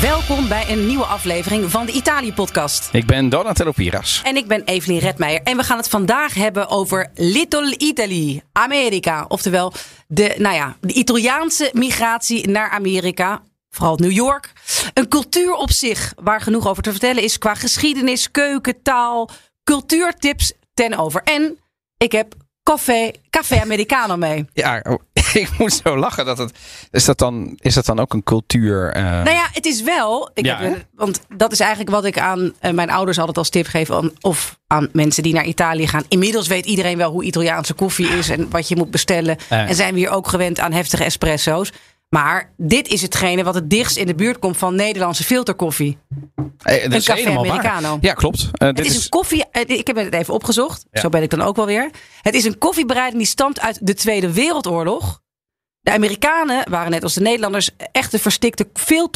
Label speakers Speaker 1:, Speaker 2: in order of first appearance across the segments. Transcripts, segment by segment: Speaker 1: Welkom bij een nieuwe aflevering van de Italië-podcast.
Speaker 2: Ik ben Donatello Piras.
Speaker 1: En ik ben Evelien Redmeijer. En we gaan het vandaag hebben over Little Italy, Amerika. Oftewel de, nou ja, de Italiaanse migratie naar Amerika. Vooral New York. Een cultuur op zich waar genoeg over te vertellen is qua geschiedenis, keuken, taal, cultuurtips ten over. En ik heb café, café Americano mee.
Speaker 2: Ja, oh, ik moet zo lachen dat het. Is dat dan, is dat dan ook een cultuur? eh,
Speaker 1: Nou ja, het is wel. Ik
Speaker 2: Ja,
Speaker 1: heb,
Speaker 2: hè?
Speaker 1: want dat is eigenlijk wat ik aan eh, mijn ouders altijd als tip geef. Aan, of aan mensen die naar Italië gaan. Inmiddels weet iedereen wel hoe Italiaanse koffie is en wat je moet bestellen.
Speaker 2: Eh.
Speaker 1: En zijn we hier ook gewend aan heftige espresso's. Maar dit is hetgene wat het dichtst in de buurt komt van Nederlandse filterkoffie.
Speaker 2: eh, dat is
Speaker 1: café
Speaker 2: helemaal waar.
Speaker 1: Americano.
Speaker 2: Ja, klopt. Eh, dit
Speaker 1: Het is een koffie. eh, Ik heb het even opgezocht.
Speaker 2: Ja.
Speaker 1: Zo ben ik dan ook wel weer. Het is een koffiebereiding die stamt uit de Tweede Wereldoorlog. De Amerikanen waren net als de Nederlanders echte verstikte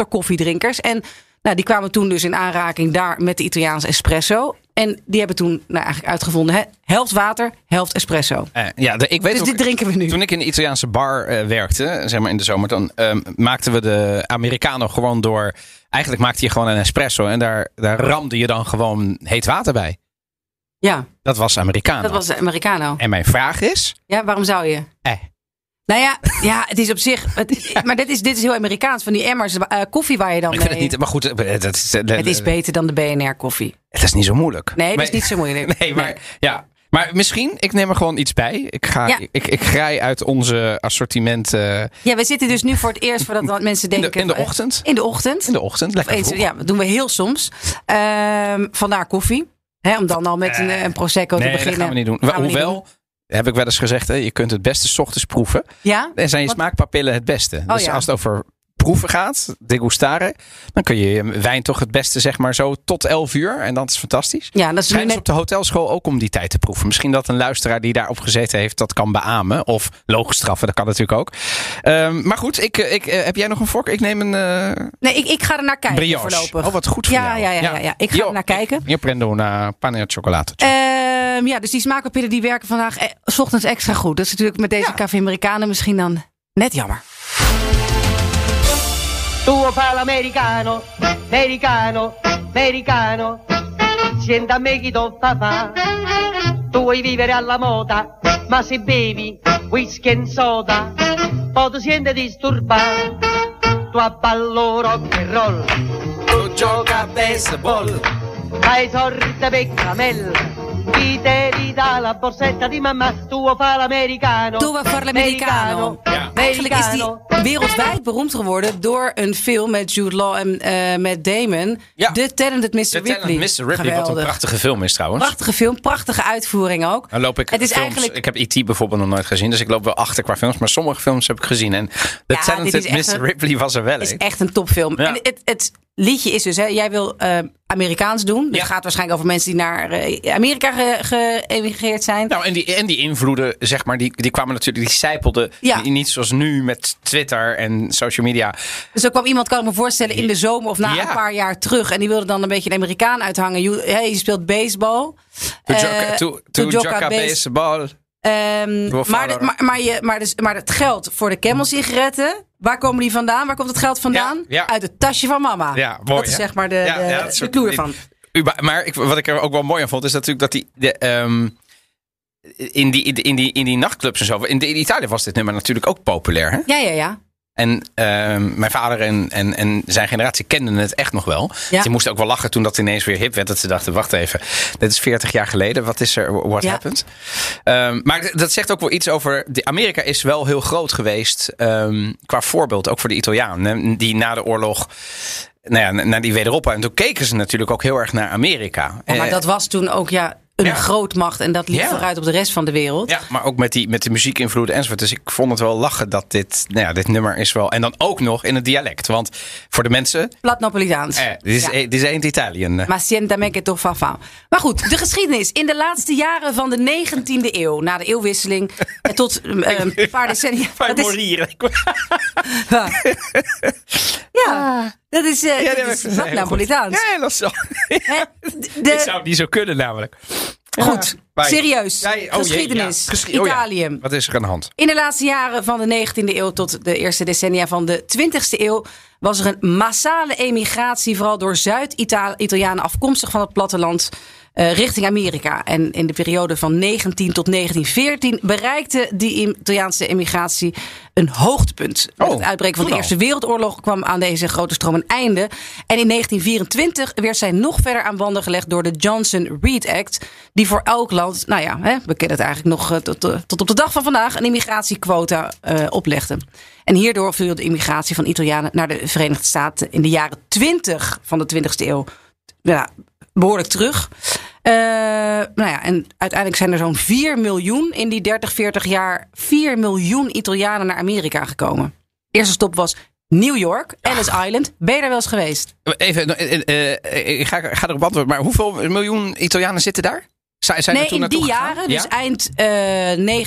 Speaker 1: filterkoffiedrinkers. En nou, die kwamen toen dus in aanraking daar met de Italiaanse espresso. En die hebben toen nou, eigenlijk uitgevonden: hè, helft water, helft espresso.
Speaker 2: eh, ja, de- ik weet
Speaker 1: Dus
Speaker 2: ook-
Speaker 1: dit drinken we nu.
Speaker 2: Toen ik in de Italiaanse bar eh, werkte, zeg maar in de zomer, dan ehm, maakten we de Americano gewoon door. Eigenlijk maakte je gewoon een espresso en daar, daar ramde je dan gewoon heet water bij.
Speaker 1: Ja,
Speaker 2: Dat was Americano.
Speaker 1: dat was de Americano.
Speaker 2: En mijn vraag is.
Speaker 1: Ja, waarom zou je?
Speaker 2: Eh,
Speaker 1: Nou ja, ja het is op zich. het- Maar dit is, dit is heel Amerikaans. Van die emmers eh, koffie waar je dan
Speaker 2: ik vind het
Speaker 1: mee.
Speaker 2: niet. Maar goed, eh, dat is, eh,
Speaker 1: het is beter dan de BNR-koffie.
Speaker 2: het is niet zo moeilijk.
Speaker 1: Nee, dat is
Speaker 2: Maar-
Speaker 1: niet zo moeilijk.
Speaker 2: Nee, maar ja. Maar misschien, ik neem er gewoon iets bij. Ik, ga,
Speaker 1: Ja.
Speaker 2: ik, ik grij uit onze assortiment eh,
Speaker 1: Ja, we zitten dus nu voor het eerst voordat wat mensen
Speaker 2: in, de,
Speaker 1: denken...
Speaker 2: in de
Speaker 1: eh,
Speaker 2: ochtend.
Speaker 1: In de ochtend.
Speaker 2: In de ochtend, lekker
Speaker 1: Eens-
Speaker 2: vroeg.
Speaker 1: ja, dat doen we heel soms. Ehm, vandaar koffie. Hè, om dan al met een,
Speaker 2: Eh,
Speaker 1: een prosecco te
Speaker 2: nee, dat
Speaker 1: beginnen.
Speaker 2: gaan we niet doen.
Speaker 1: Gaan we niet
Speaker 2: Hoewel,
Speaker 1: doen.
Speaker 2: heb ik wel eens gezegd, hè, je kunt het beste 's ochtends proeven.
Speaker 1: Ja?
Speaker 2: En zijn je
Speaker 1: Want- Oh,
Speaker 2: smaakpapillen het beste. dus
Speaker 1: ja.
Speaker 2: als het over proeven gaat, degustaren, dan kun je je wijn toch het beste zeg maar zo tot 11 uur. En dat is fantastisch.
Speaker 1: Ja, dat is nu
Speaker 2: Schijnt
Speaker 1: net...
Speaker 2: op de hotelschool ook om die tijd te proeven. Misschien dat een luisteraar die daarop gezeten heeft dat kan beamen. Of logisch straffen, dat kan natuurlijk ook. Ehm, maar goed, ik, eh, ik, eh, heb jij nog een vork? Ik neem een eh
Speaker 1: Nee, ik, ik ga er naar kijken
Speaker 2: brioche.
Speaker 1: voorlopig.
Speaker 2: Oh, wat goed voor
Speaker 1: Ja,
Speaker 2: jou.
Speaker 1: ja, ja, ja, ja. Ik ga er naar kijken.
Speaker 2: Je prendo una panna chocolate.
Speaker 1: Ehm, ja, dus die smaakpapillen die werken vandaag eh, s ochtends extra goed. Dat is natuurlijk met deze
Speaker 2: Ja.
Speaker 1: café Amerikanen misschien dan net jammer.
Speaker 3: Tuo fa l'americano, americano, americano. Senta a me chi tocca fa. Tu vuoi vivere alla moda, ma se bevi whisky e soda, poi ti senti disturbato. Tu abballo rock and roll,
Speaker 2: Tu gioca a baseball.
Speaker 3: fai sorte per caramella. Chi te li dà la borsetta di mamma, tuo fa l'americano.
Speaker 1: Doe we voor l'americano.
Speaker 2: Ja.
Speaker 1: Eigenlijk is die wereldwijd beroemd geworden door een film met Jude Law en eh met Damon.
Speaker 2: Ja.
Speaker 1: The Talented Mr.
Speaker 2: Mr.
Speaker 1: Ripley.
Speaker 2: Ripley, Mr. Ripley wat een
Speaker 1: Geweldig.
Speaker 2: prachtige film is trouwens.
Speaker 1: Prachtige film, prachtige uitvoering ook.
Speaker 2: Dan loop ik
Speaker 1: Het is
Speaker 2: films-
Speaker 1: eigenlijk-
Speaker 2: Ik heb E.T. bijvoorbeeld nog nooit gezien, dus ik loop wel achter qua films. Maar sommige films heb ik gezien. En The
Speaker 1: Ja, dit
Speaker 2: Talented
Speaker 1: is echt
Speaker 2: Mr.
Speaker 1: een-
Speaker 2: Ripley was er wel
Speaker 1: Het is
Speaker 2: een.
Speaker 1: echt een topfilm.
Speaker 2: Ja.
Speaker 1: En het, het liedje is dus, hè, jij wil eh, Amerikaans doen. Dus
Speaker 2: Ja.
Speaker 1: het gaat waarschijnlijk over mensen die naar eh, Amerika ge- geëmigreerd zijn.
Speaker 2: Nou, en die, en die invloeden, zeg maar, die, die kwamen natuurlijk, die sijpelden.
Speaker 1: Ja.
Speaker 2: Die- Niet zoals nu met Twitter en social media.
Speaker 1: Dus er kwam iemand, kan ik me voorstellen, in de zomer of na
Speaker 2: Ja.
Speaker 1: een paar jaar terug. En die wilde dan een beetje een Amerikaan uithangen. Je, hè, je speelt baseball.
Speaker 2: To
Speaker 1: Eh,
Speaker 2: Jocka- to- to
Speaker 1: to Jocka
Speaker 2: Jocka
Speaker 1: Base-
Speaker 2: Baseball.
Speaker 1: Ehm,
Speaker 2: Door
Speaker 1: maar, de-
Speaker 2: vader.
Speaker 1: maar, maar, je, maar, dus, maar het geld voor de Camel-sigaretten, waar komen die vandaan? Waar komt het geld vandaan?
Speaker 2: Ja, ja.
Speaker 1: Uit het tasje van mama.
Speaker 2: Ja, mooi,
Speaker 1: dat is
Speaker 2: hè?
Speaker 1: zeg maar de,
Speaker 2: Ja,
Speaker 1: de,
Speaker 2: ja, dat
Speaker 1: de
Speaker 2: soort
Speaker 1: clue
Speaker 2: dingen.
Speaker 1: ervan.
Speaker 2: Uba- Maar ik, wat ik er ook wel mooi aan vond, is natuurlijk dat die. De, ehm, in die, in, die, in, die, in die nachtclubs en zo. In, de- in Italië was dit nummer natuurlijk ook populair. Hè?
Speaker 1: Ja, ja, ja.
Speaker 2: En ehm, mijn vader en, en, en zijn generatie kenden het echt nog wel.
Speaker 1: Ja.
Speaker 2: Ze moesten ook wel lachen toen dat ineens weer hip werd. Dat ze dachten, wacht even, dit is 40 jaar geleden. Wat is er? What
Speaker 1: Ja.
Speaker 2: happened? Ehm, maar d- dat zegt ook wel iets over... de- Amerika is wel heel groot geweest ehm, qua voorbeeld. Ook voor de Italianen. Die na de oorlog, nou ja, na- naar die wederopbouw. En toen keken ze natuurlijk ook heel erg naar Amerika.
Speaker 1: Ja, maar
Speaker 2: Eh,
Speaker 1: dat was toen ook, ja, een
Speaker 2: Ja.
Speaker 1: grootmacht en dat liep
Speaker 2: Ja.
Speaker 1: vooruit op de rest van de wereld.
Speaker 2: Ja, maar ook met, die, met de muziekinvloed enzovoort. Dus ik vond het wel lachen dat dit, nou ja, dit nummer is wel. En dan ook nog in het dialect. Want voor de mensen.
Speaker 1: Plat Napolitaans.
Speaker 2: Eh, dit, is,
Speaker 1: Ja.
Speaker 2: eh, dit is eend Italië.
Speaker 1: Maar sienta me che toch fa. Maar goed, de geschiedenis. In de laatste jaren van de 19e eeuw, na de eeuwwisseling, en tot eh, een paar decennia. Dat is,
Speaker 2: morieren.
Speaker 1: ja. ja, dat is, eh, dat is plat Napolitaans.
Speaker 2: Ja, heel zo.
Speaker 1: Hè?
Speaker 2: Ik
Speaker 1: De,
Speaker 2: zou het niet zo kunnen, namelijk.
Speaker 1: goed,
Speaker 2: Wij-
Speaker 1: serieus.
Speaker 2: Jij- oh, jee, ja.
Speaker 1: geschiedenis.
Speaker 2: Geschi- oh, ja.
Speaker 1: Italië.
Speaker 2: Wat is er aan de hand?
Speaker 1: In de laatste jaren van de 19e eeuw tot de eerste decennia van de 20e eeuw was er een massale emigratie, vooral door Zuid-Italianen afkomstig van het platteland eh, richting Amerika. En in de periode van 19 tot 1914 bereikte die Italiaanse emigratie een hoogtepunt. Met
Speaker 2: Oh,
Speaker 1: het uitbreken van de
Speaker 2: toen al.
Speaker 1: Eerste Wereldoorlog kwam aan deze grote stroom een einde. En in 1924 werd zij nog verder aan banden gelegd door de Johnson-Reed Act. Die voor elk land, nou ja, hè, we kennen het eigenlijk nog eh, tot, eh, tot op de dag van vandaag, een immigratiequota eh, oplegde. En hierdoor viel de immigratie van Italianen naar de Verenigde Staten in de jaren 20 van de 20e eeuw ja, behoorlijk terug. Eh, nou ja, en uiteindelijk zijn er zo'n 4 miljoen in die 30, 40 jaar 4 miljoen Italianen naar Amerika gekomen. Eerste stop was New York, Ellis
Speaker 2: Ah.
Speaker 1: Island. Ben je daar wel eens geweest?
Speaker 2: Even, eh, eh, eh, ik ga, ik ga erop antwoorden. Maar hoeveel miljoen Italianen zitten daar? Zijn, zijn er
Speaker 1: nee,
Speaker 2: toen
Speaker 1: in die
Speaker 2: naartoe gegaan?
Speaker 1: jaren,
Speaker 2: Ja?
Speaker 1: dus eind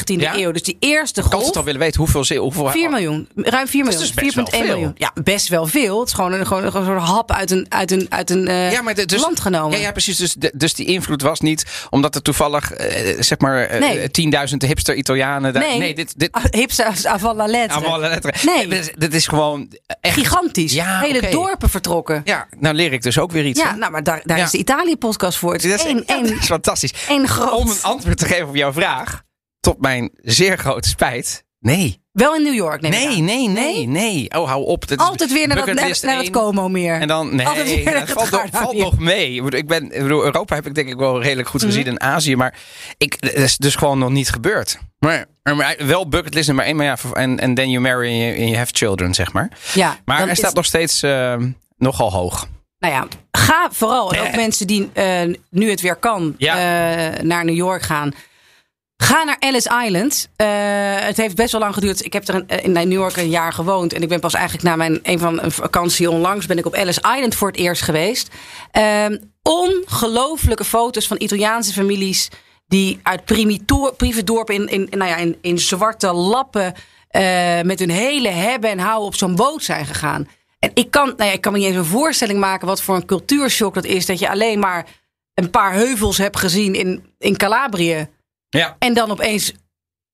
Speaker 1: eh, 19e
Speaker 2: Ja?
Speaker 1: eeuw. Dus die eerste
Speaker 2: Ik had het al
Speaker 1: golf.
Speaker 2: willen weten hoeveel. ze- hoeveel
Speaker 1: 4 miljoen, ruim 4
Speaker 2: Dat
Speaker 1: miljoen,
Speaker 2: is dus best wel
Speaker 1: 4,1
Speaker 2: veel.
Speaker 1: miljoen. Ja, best wel veel. Het is gewoon een, gewoon, gewoon een soort hap uit een, uit een, uit een eh,
Speaker 2: Ja, maar de- dus,
Speaker 1: land genomen.
Speaker 2: Ja, ja precies. Dus, de- dus die invloed was niet omdat er toevallig eh, zeg maar eh,
Speaker 1: Nee.
Speaker 2: 10.000 hipster Italianen. daar-
Speaker 1: Nee,
Speaker 2: nee, dit, dit
Speaker 1: Ah, Hipsters avant la lettre.
Speaker 2: aan alle letteren.
Speaker 1: Nee.
Speaker 2: Dit is- Dit is gewoon echt.
Speaker 1: Gigantisch.
Speaker 2: Ja,
Speaker 1: Hele
Speaker 2: oké.
Speaker 1: dorpen vertrokken.
Speaker 2: Ja, nou leer ik dus ook weer iets.
Speaker 1: Ja,
Speaker 2: hè?
Speaker 1: nou, maar daar, daar
Speaker 2: Ja.
Speaker 1: is de Italië-podcast voor. Het
Speaker 2: dat,
Speaker 1: is
Speaker 2: is,
Speaker 1: één,
Speaker 2: ja,
Speaker 1: één,
Speaker 2: dat is fantastisch.
Speaker 1: één groot.
Speaker 2: Om een antwoord te geven op jouw vraag, tot mijn zeer grote spijt. Nee.
Speaker 1: Wel in New York, neem ik
Speaker 2: Nee,
Speaker 1: aan.
Speaker 2: nee, nee, nee, Oh, hou op. Dat is
Speaker 1: Altijd weer naar dat, naar,
Speaker 2: bucketlist
Speaker 1: naar dat
Speaker 2: één.
Speaker 1: Como meer.
Speaker 2: En dan, nee,
Speaker 1: Altijd weer
Speaker 2: dat
Speaker 1: het
Speaker 2: valt, nog,
Speaker 1: Gardameer.
Speaker 2: valt nog mee. Ik bedoel, Ik ben, ik bedoel, Europa heb ik denk ik wel redelijk goed
Speaker 1: Mhm.
Speaker 2: gezien in Azië. Maar ik, dat is dus gewoon nog niet gebeurd. Maar, maar wel bucketlist nummer één. Maar ja, en en then you marry and you, and you have children, zeg maar.
Speaker 1: ja,
Speaker 2: Maar
Speaker 1: dan
Speaker 2: er staat
Speaker 1: is-
Speaker 2: nog steeds eh,
Speaker 1: ehm,
Speaker 2: nogal hoog.
Speaker 1: Nou ja, ga vooral. En ook mensen die eh, nu het weer kan
Speaker 2: Ja.
Speaker 1: eh, naar New York gaan. Ga naar Ellis Island. Eh, het heeft best wel lang geduurd. Ik heb er een- eh, in New York een jaar gewoond. En ik ben pas eigenlijk na mijn een van een vakantie onlangs ben ik op Ellis Island voor het eerst geweest. Ehm ongelooflijke foto's van Italiaanse families die uit primito- prieve dorpen in, in, nou ja, in, in zwarte lappen eh, met hun hele hebben en houden op zo'n boot zijn gegaan. En ik kan, nou ja, ik kan me niet eens een voorstelling maken wat voor een cultuurshock dat is. Dat je alleen maar een paar heuvels hebt gezien in, in Calabrië.
Speaker 2: Ja.
Speaker 1: En dan opeens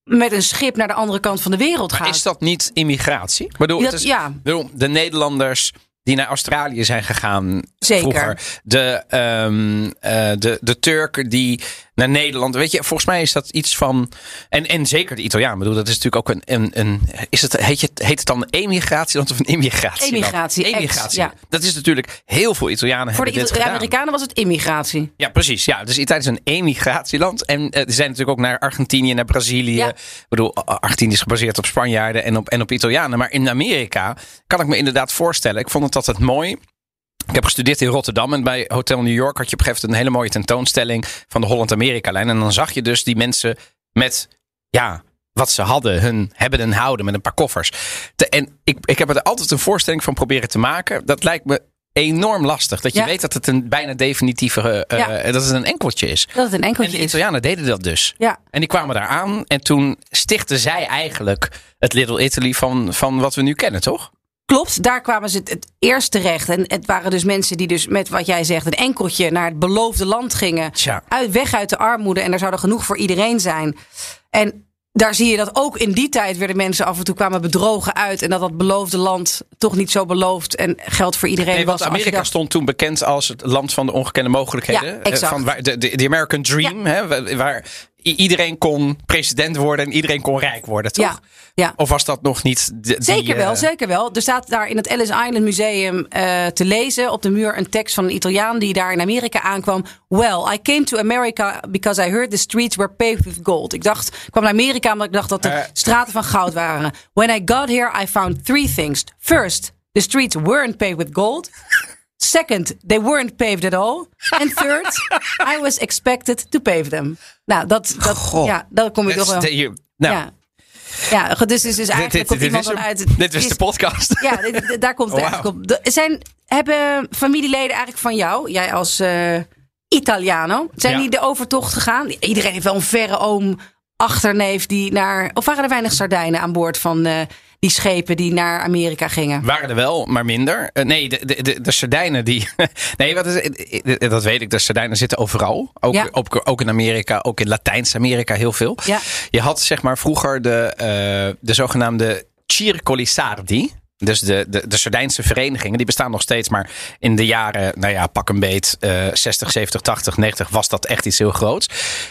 Speaker 1: met een schip naar de andere kant van de wereld
Speaker 2: Maar
Speaker 1: gaat.
Speaker 2: is dat niet immigratie? Ik bedoel,
Speaker 1: Dat-
Speaker 2: het is,
Speaker 1: ja.
Speaker 2: ik bedoel, de Nederlanders die naar Australië zijn gegaan
Speaker 1: Zeker.
Speaker 2: vroeger. De, ehm, eh, de, de Turken die naar Nederland. Weet je, volgens mij is dat iets van. En, en zeker de Italiaan. Ik bedoel, dat is natuurlijk ook een. een, een is het, heet, je, heet het dan een emigratieland of een immigratie?
Speaker 1: Emigratie, ex,
Speaker 2: Emigratie.
Speaker 1: ja.
Speaker 2: Dat is natuurlijk heel veel Italianen
Speaker 1: Voor de
Speaker 2: hebben dit
Speaker 1: Ita-
Speaker 2: gedaan.
Speaker 1: Amerikanen was het immigratie.
Speaker 2: Ja, precies. Ja, dus Italië is een emigratieland. En eh, er zijn natuurlijk ook naar Argentinië, naar Brazilië.
Speaker 1: Ja.
Speaker 2: Ik bedoel, A- A- Argentinië is gebaseerd op Spanjaarden en op, en op Italianen. Maar in Amerika kan ik me inderdaad voorstellen. Ik vond het altijd mooi. Ik heb gestudeerd in Rotterdam en bij Hotel New York had je op een gegeven moment een hele mooie tentoonstelling van de Holland-Amerika-lijn. En dan zag je dus die mensen met, ja, wat ze hadden, hun hebben en houden met een paar koffers. Te- en ik, ik heb er altijd een voorstelling van proberen te maken. Dat lijkt me enorm lastig. Dat je
Speaker 1: Ja.
Speaker 2: weet dat het een bijna definitieve, eh,
Speaker 1: Ja.
Speaker 2: eh, dat het een enkeltje is.
Speaker 1: Dat het een
Speaker 2: En
Speaker 1: enkeltje
Speaker 2: de
Speaker 1: is.
Speaker 2: Italianen deden dat dus.
Speaker 1: Ja,
Speaker 2: En die kwamen daar aan en toen stichtten zij eigenlijk het Little Italy van, van wat we nu kennen, toch?
Speaker 1: klopt. Daar kwamen ze het, het eerst terecht. En het waren dus mensen die dus met wat jij zegt een enkeltje naar het beloofde land gingen.
Speaker 2: Tja.
Speaker 1: Uit, weg uit de armoede. En daar zou er genoeg voor iedereen zijn. En daar zie je dat ook in die tijd werden mensen af en toe kwamen bedrogen uit. En dat dat beloofde land toch niet zo beloofd en geld voor iedereen
Speaker 2: Nee,
Speaker 1: was.
Speaker 2: want
Speaker 1: als je
Speaker 2: Amerika
Speaker 1: dacht.
Speaker 2: stond toen bekend als het land van de ongekende mogelijkheden.
Speaker 1: Ja,
Speaker 2: Eh,
Speaker 1: exact.
Speaker 2: Van waar, de, de, de American Dream, hè, wa- waar i- iedereen kon president worden en iedereen kon rijk worden, toch?
Speaker 1: Ja, ja.
Speaker 2: Of was dat nog niet... de- die,
Speaker 1: Zeker wel,
Speaker 2: eh,
Speaker 1: zeker wel. Er staat daar in het Ellis Island Museum eh, te lezen op de muur een tekst van een Italiaan die daar in Amerika aankwam. Well, I came to America because I heard the streets were paved with gold. Ik dacht, ik kwam naar Amerika omdat ik dacht dat de
Speaker 2: Eh.
Speaker 1: straten van goud waren. When I got here, I found three things. First, the streets weren't paved with gold. Second, they weren't paved at all. And third, I was expected to pave them. Nou, dat, dat
Speaker 2: Goh.
Speaker 1: ja, daar kom ik
Speaker 2: That's
Speaker 1: toch wel.
Speaker 2: the- you- nou,
Speaker 1: ja. ja, dus, dus, dus
Speaker 2: dit,
Speaker 1: eigenlijk
Speaker 2: dit,
Speaker 1: komt
Speaker 2: dit
Speaker 1: iemand
Speaker 2: is
Speaker 1: dan
Speaker 2: hem.
Speaker 1: uit.
Speaker 2: Dit was
Speaker 1: is-
Speaker 2: de podcast.
Speaker 1: Ja, dit- dit- daar komt het
Speaker 2: Wauw.
Speaker 1: eigenlijk op. De- Zijn, hebben familieleden eigenlijk van jou, jij als eh, Italiano, zijn
Speaker 2: Ja.
Speaker 1: die de overtocht gegaan? Iedereen heeft wel een verre oom, achterneef die naar... Of waren er weinig sardijnen aan boord van eh, die schepen die naar Amerika gingen?
Speaker 2: Waren er wel, maar minder. Eh, nee, de, de, de, de sardijnen die... nee, wat is, eh, eh, dat weet ik. De sardijnen zitten overal. Ook,
Speaker 1: Ja.
Speaker 2: ook, ook in Amerika, ook in Latijns-Amerika heel veel.
Speaker 1: Ja.
Speaker 2: Je had zeg maar vroeger de, eh, de zogenaamde circolisardi. Dus de, de, de Sardijnse verenigingen, die bestaan nog steeds. Maar in de jaren, nou ja, pak een beet, eh 60, 70, 80, 90 was dat echt iets heel groots.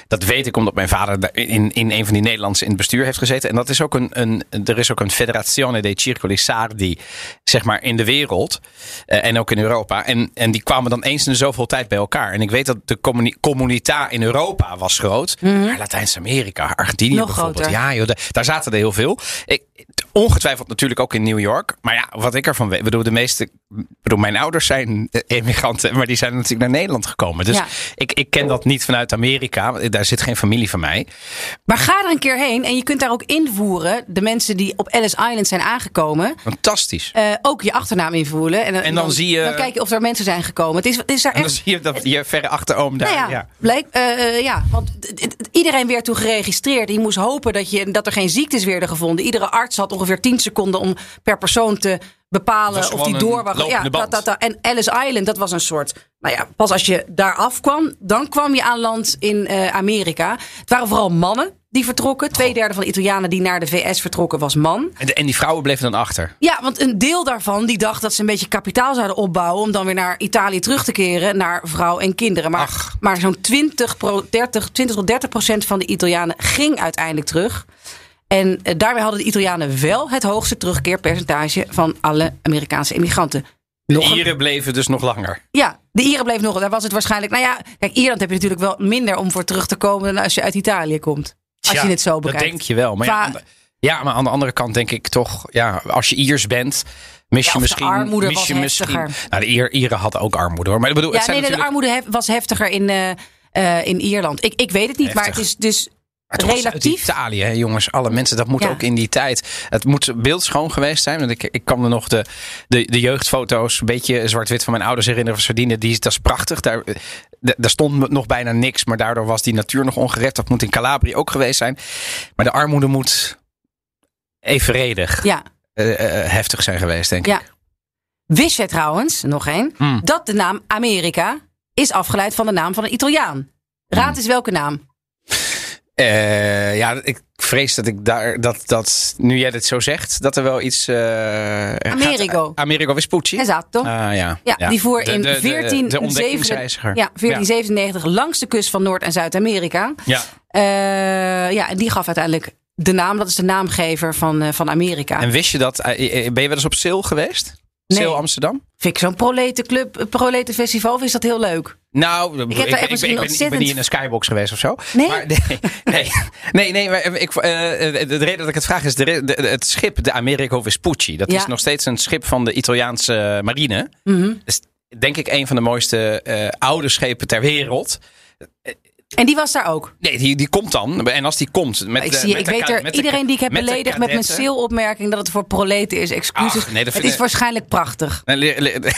Speaker 2: Dat weet ik omdat mijn vader daar in, in een van die Nederlandse in het bestuur heeft gezeten. En dat is ook een, een er is ook een Federazione dei Circolisardi, zeg maar, in de wereld. eh, en ook in Europa. En, en die kwamen dan eens in de zoveel tijd bij elkaar. En ik weet dat de communi communita in Europa was groot. Maar Latijns-Amerika, Argentinië
Speaker 1: Mhm. Nog
Speaker 2: bijvoorbeeld.
Speaker 1: groter.
Speaker 2: Ja, ja, joh, da- daar zaten er heel veel. Ik, ongetwijfeld natuurlijk ook in New York. Maar ja, wat ik ervan weet. ik Bedoel, de meeste. ik Bedoel, mijn ouders zijn eh, emigranten. Maar die zijn natuurlijk naar Nederland gekomen. Dus
Speaker 1: Ja.
Speaker 2: ik, ik ken dat niet vanuit Amerika. want Daar zit geen familie van mij.
Speaker 1: Maar ga er een keer heen en je kunt daar ook invoeren... de mensen die op Ellis Island zijn aangekomen...
Speaker 2: Fantastisch.
Speaker 1: eh, ook je achternaam invoeren. En,
Speaker 2: dan zie je-
Speaker 1: Dan kijk je of er mensen zijn gekomen. Het is, het is daar
Speaker 2: En dan
Speaker 1: echt...
Speaker 2: zie je dat je verre achteroom daar.
Speaker 1: Nou ja,
Speaker 2: ja.
Speaker 1: Bleek, eh, eh, ja, want d- d- d- iedereen werd toen geregistreerd. Je moest hopen dat, je, dat er geen ziektes werden gevonden. Iedere arts had ongeveer 10 seconden om per persoon te
Speaker 2: Het
Speaker 1: bepalen of
Speaker 2: was
Speaker 1: die
Speaker 2: gewoon
Speaker 1: door
Speaker 2: een
Speaker 1: was.
Speaker 2: lopende
Speaker 1: Ja, dat,
Speaker 2: band.
Speaker 1: dat, dat. En Ellis Island, dat was een soort. Nou ja, pas als je daar afkwam, dan kwam je aan land in eh, Amerika. Het waren vooral mannen die vertrokken. Tweederde van de Italianen die naar de VS vertrokken was man.
Speaker 2: En, de- en die vrouwen bleven dan achter.
Speaker 1: Ja, want een deel daarvan die dacht dat ze een beetje kapitaal zouden opbouwen. om dan weer naar Italië terug te keren. naar vrouw en kinderen. Maar,
Speaker 2: Ach.
Speaker 1: maar zo'n 20, pro- 30, 20 tot 30 procent van de Italianen ging uiteindelijk terug. En eh, daarbij hadden de Italianen wel het hoogste terugkeerpercentage. van alle Amerikaanse immigranten.
Speaker 2: De
Speaker 1: een-
Speaker 2: Ieren bleven dus nog langer.
Speaker 1: Ja, de Ieren bleef nog. Daar was het waarschijnlijk. Nou ja, kijk, Ierland heb je natuurlijk wel minder om voor terug te komen. dan als je uit Italië komt. Als
Speaker 2: Ja,
Speaker 1: je het zo bekijkt.
Speaker 2: Dat denk je wel. Maar ja,
Speaker 1: Qua-
Speaker 2: aan de- ja, maar aan de andere kant denk ik toch, ja, als je Iers bent, mis
Speaker 1: Ja,
Speaker 2: je
Speaker 1: of de
Speaker 2: misschien.
Speaker 1: armoede
Speaker 2: mis
Speaker 1: was
Speaker 2: je misschien
Speaker 1: heftiger.
Speaker 2: nou, de Ier- Ieren hadden ook armoede hoor. Maar ik bedoel,
Speaker 1: Ja,
Speaker 2: het zijn
Speaker 1: nee, de
Speaker 2: natuurlijk,
Speaker 1: armoede hef- was heftiger in, eh, eh, in Ierland. Ik, ik weet het niet, maar het
Speaker 2: Heftig.
Speaker 1: is dus
Speaker 2: Maar toch is het
Speaker 1: relatief.
Speaker 2: Uit Italië, hè, jongens. Alle mensen, dat moet
Speaker 1: Ja.
Speaker 2: ook in die tijd. Het moet beeldschoon geweest zijn. Want ik, ik kan me nog de, de, de jeugdfoto's, een beetje zwart-wit van mijn ouders herinneren van Sardinië. Die, is- dat is prachtig. Daar, eh, d- daar stond nog bijna niks. Maar daardoor was die natuur nog ongerept. Dat moet in Calabria ook geweest zijn. Maar de armoede moet evenredig
Speaker 1: Ja,
Speaker 2: eh, eh, heftig zijn geweest, denk ik.
Speaker 1: ja. Wist je trouwens, nog één,
Speaker 2: Hmm.
Speaker 1: dat de naam Amerika is afgeleid van de naam van een Italiaan? Raad
Speaker 2: Hmm.
Speaker 1: eens welke naam?
Speaker 2: Eh, ja, ik vrees dat ik daar, dat, dat nu jij dit zo zegt, dat er wel iets. eh, gaat-
Speaker 1: Amerigo.
Speaker 2: Amerigo Vespucci.
Speaker 1: Esatto.
Speaker 2: Ah, ja.
Speaker 1: Oh. Ja, die voer
Speaker 2: De-
Speaker 1: in
Speaker 2: de- de- De
Speaker 1: 1497
Speaker 2: ontdekkingsreiziger.
Speaker 1: ja, 1497 langs de kust van Noord- en Zuid-Amerika.
Speaker 2: Ja.
Speaker 1: Eh, ja, en die gaf uiteindelijk de naam. Dat is de naamgever van, eh, van Amerika.
Speaker 2: En wist je dat? eh, eh, Ben je wel eens op Seel geweest?
Speaker 1: Nee.
Speaker 2: Seel Amsterdam?
Speaker 1: Vind ik zo'n proletenclub, eh, proletenfestival, of is dat heel leuk?
Speaker 2: Nou, ik,
Speaker 1: daar echt
Speaker 2: ben-
Speaker 1: misschien
Speaker 2: ik, ben, ik, ben, ik ben
Speaker 1: ontzettend-
Speaker 2: niet in een skybox geweest of zo.
Speaker 1: Nee?
Speaker 2: Maar, nee, nee, nee, nee, maar ik, eh, eh, de reden dat ik het vraag is de, re- de- het schip, de Americo Vespucci. Dat
Speaker 1: Ja. Mhm.
Speaker 2: is nog steeds een schip van de Italiaanse marine. Dat is denk ik een van de mooiste eh, oude schepen ter wereld.
Speaker 1: En die was daar ook.
Speaker 2: Nee, die, die komt dan. En als die komt. Met
Speaker 1: Ik,
Speaker 2: de-
Speaker 1: zie,
Speaker 2: met
Speaker 1: ik
Speaker 2: de
Speaker 1: weet
Speaker 2: ka-
Speaker 1: er,
Speaker 2: met de-
Speaker 1: iedereen die ik heb
Speaker 2: met de
Speaker 1: beledigd met mijn
Speaker 2: kadetten.
Speaker 1: sale-opmerking dat het voor proleten is. Excuses.
Speaker 2: Ach, nee, dat
Speaker 1: het
Speaker 2: vind
Speaker 1: is
Speaker 2: ik-
Speaker 1: waarschijnlijk prachtig.
Speaker 2: Nee, Nou, le- le-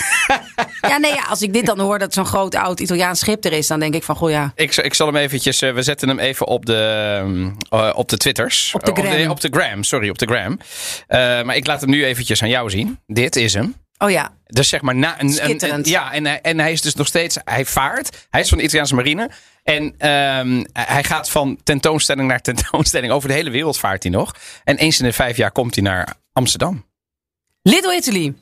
Speaker 1: Ja, nee, ja, als ik dit dan hoor dat zo'n groot oud Italiaans schip er is, dan denk ik van, goh ja.
Speaker 2: Ik, zal- ik zal hem eventjes... eh, we zetten hem even op de, ehm, eh, op de Twitters.
Speaker 1: Op de
Speaker 2: Eh, Op
Speaker 1: gram.
Speaker 2: de, gram, sorry, op de gram. Eh, maar ik laat hem nu eventjes aan jou zien. Dit is hem.
Speaker 1: Oh ja,
Speaker 2: Dus zeg maar... Na, een- een, een,
Speaker 1: Schitterend.
Speaker 2: ja, en, hij- en hij is dus nog steeds... Hij vaart. Hij is van de Italiaanse marine. En ehm, hij gaat van tentoonstelling naar tentoonstelling. Over de hele wereld vaart hij nog. En eens in de vijf jaar komt hij naar Amsterdam.
Speaker 1: Little Italy.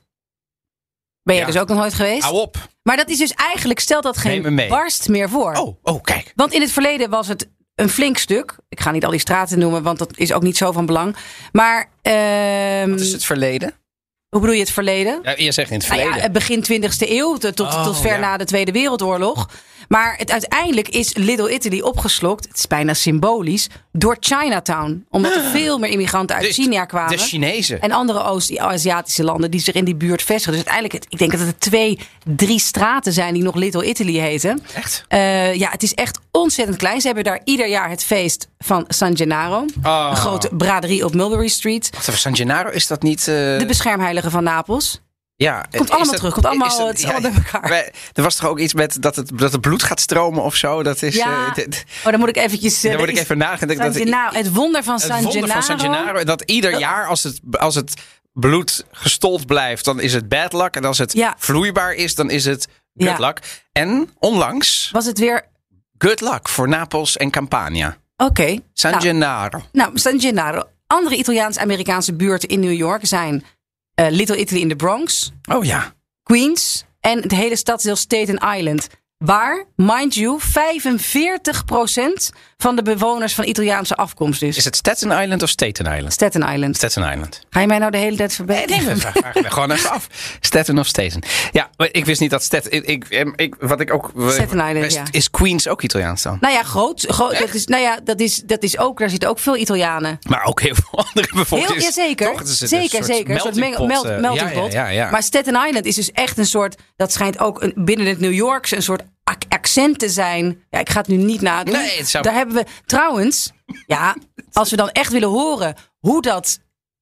Speaker 1: Ben jij
Speaker 2: Ja.
Speaker 1: dus ook nog nooit geweest?
Speaker 2: Hou op.
Speaker 1: Maar dat is dus eigenlijk, stel dat
Speaker 2: Neem hem
Speaker 1: geen
Speaker 2: mee.
Speaker 1: barst meer voor.
Speaker 2: Oh, oh, kijk.
Speaker 1: Want in het verleden was het een flink stuk. Ik ga niet al die straten noemen, want dat is ook niet zo van belang. Maar ehm,
Speaker 2: Wat is het verleden?
Speaker 1: Hoe bedoel je het verleden?
Speaker 2: Ja, je zegt in het
Speaker 1: Nou
Speaker 2: verleden.
Speaker 1: ja, het begin 20e eeuw, tot, tot,
Speaker 2: Oh,
Speaker 1: tot ver
Speaker 2: ja.
Speaker 1: na de Tweede Wereldoorlog. Maar het, uiteindelijk is Little Italy opgeslokt, het is bijna symbolisch, door Chinatown. Omdat er veel meer immigranten uit
Speaker 2: Ah. De-
Speaker 1: China kwamen.
Speaker 2: Dus de Chinezen.
Speaker 1: En andere Oost-Aziatische landen die zich in die buurt vestigen. Dus uiteindelijk, het- ik denk dat het twee, drie straten zijn die nog Little Italy heten.
Speaker 2: Echt?
Speaker 1: Eh, ja, het is echt ontzettend klein. Ze hebben daar ieder jaar het feest van San Gennaro.
Speaker 2: Ah.
Speaker 1: Een grote braderie op Mulberry Street.
Speaker 2: Wacht even, San Gennaro is dat niet... eh,
Speaker 1: De beschermheilige van Napels.
Speaker 2: ja,
Speaker 1: Komt
Speaker 2: is
Speaker 1: allemaal
Speaker 2: dat-
Speaker 1: terug, komt allemaal-
Speaker 2: is dat-
Speaker 1: het is allemaal door elkaar.
Speaker 2: wij- er was toch ook iets met dat het, dat het bloed gaat stromen of zo? Dat is,
Speaker 1: Ja.
Speaker 2: eh, dit-
Speaker 1: Oh, dan moet ik eventjes... eh,
Speaker 2: daar word ik
Speaker 1: is-
Speaker 2: even nagedacht.
Speaker 1: San
Speaker 2: Dat,
Speaker 1: Gennaro, het wonder van
Speaker 2: het
Speaker 1: San
Speaker 2: wonder
Speaker 1: Gennaro.
Speaker 2: van San Gennaro. Dat ieder jaar als het, als het bloed gestold blijft, dan is het bad luck. En als het
Speaker 1: Ja.
Speaker 2: vloeibaar is, dan is het good
Speaker 1: Ja.
Speaker 2: luck. En onlangs
Speaker 1: Was het weer...
Speaker 2: good luck voor Napels en Campania.
Speaker 1: Oké.
Speaker 2: San
Speaker 1: nou,
Speaker 2: Gennaro.
Speaker 1: nou, San Gennaro. Andere Italiaans-Amerikaanse buurten in New York zijn eh, Little Italy in de Bronx,
Speaker 2: Oh ja.
Speaker 1: Queens en het hele stadsdeel Staten Island. Waar, mind you, 45% van de bewoners van Italiaanse afkomst is.
Speaker 2: Is het Staten Island of Staten Island?
Speaker 1: Staten Island.
Speaker 2: Staten Island.
Speaker 1: Ga je mij nou de hele tijd verbeteren?
Speaker 2: Nee, we vragen vragen we gewoon even af. Staten of Staten? Ja, maar ik wist niet dat Staten... Ik, ik, em, ik- wat ik ook... we-
Speaker 1: Staten Island,
Speaker 2: is,
Speaker 1: ja.
Speaker 2: is Queens ook Italiaans dan?
Speaker 1: Nou ja, groot. groot dat is, nou ja, dat is, dat is ook, daar zitten ook veel Italianen.
Speaker 2: Maar ook heel veel andere bevolking.
Speaker 1: Heel,
Speaker 2: is-
Speaker 1: ja, zeker.
Speaker 2: Toch? Het is een
Speaker 1: zeker,
Speaker 2: soort
Speaker 1: zeker. Een soort
Speaker 2: melting
Speaker 1: meng-
Speaker 2: pot,
Speaker 1: melt-
Speaker 2: eh,
Speaker 1: melting pot.
Speaker 2: Ja, ja, ja, ja.
Speaker 1: Maar Staten Island is dus echt een soort... Dat schijnt ook een, binnen het New Yorks een soort ac- accent te zijn. Ja, ik ga het nu niet nadoen.
Speaker 2: Nee, het zou-
Speaker 1: Daar hebben we... Trouwens, ja, als we dan echt willen horen hoe dat